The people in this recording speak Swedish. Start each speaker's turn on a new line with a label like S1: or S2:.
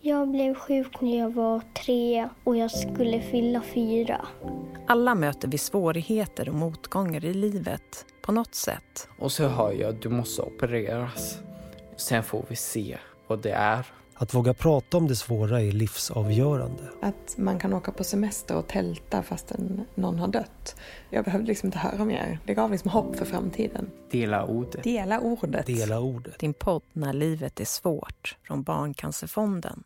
S1: Jag blev sjuk när jag var tre och jag skulle fylla fyra.
S2: Alla möter vi svårigheter och motgångar i livet på något sätt.
S3: Och så hör jag att du måste opereras. Sen får vi se vad det är.
S4: Att våga prata om det svåra är livsavgörande.
S5: Att man kan åka på semester och tälta fastän någon har dött. Jag behövde liksom inte höra mer. Det gav liksom hopp för framtiden.
S3: Dela ordet.
S5: Dela ordet.
S4: Dela ordet.
S2: Din podd När livet är svårt från Barncancerfonden.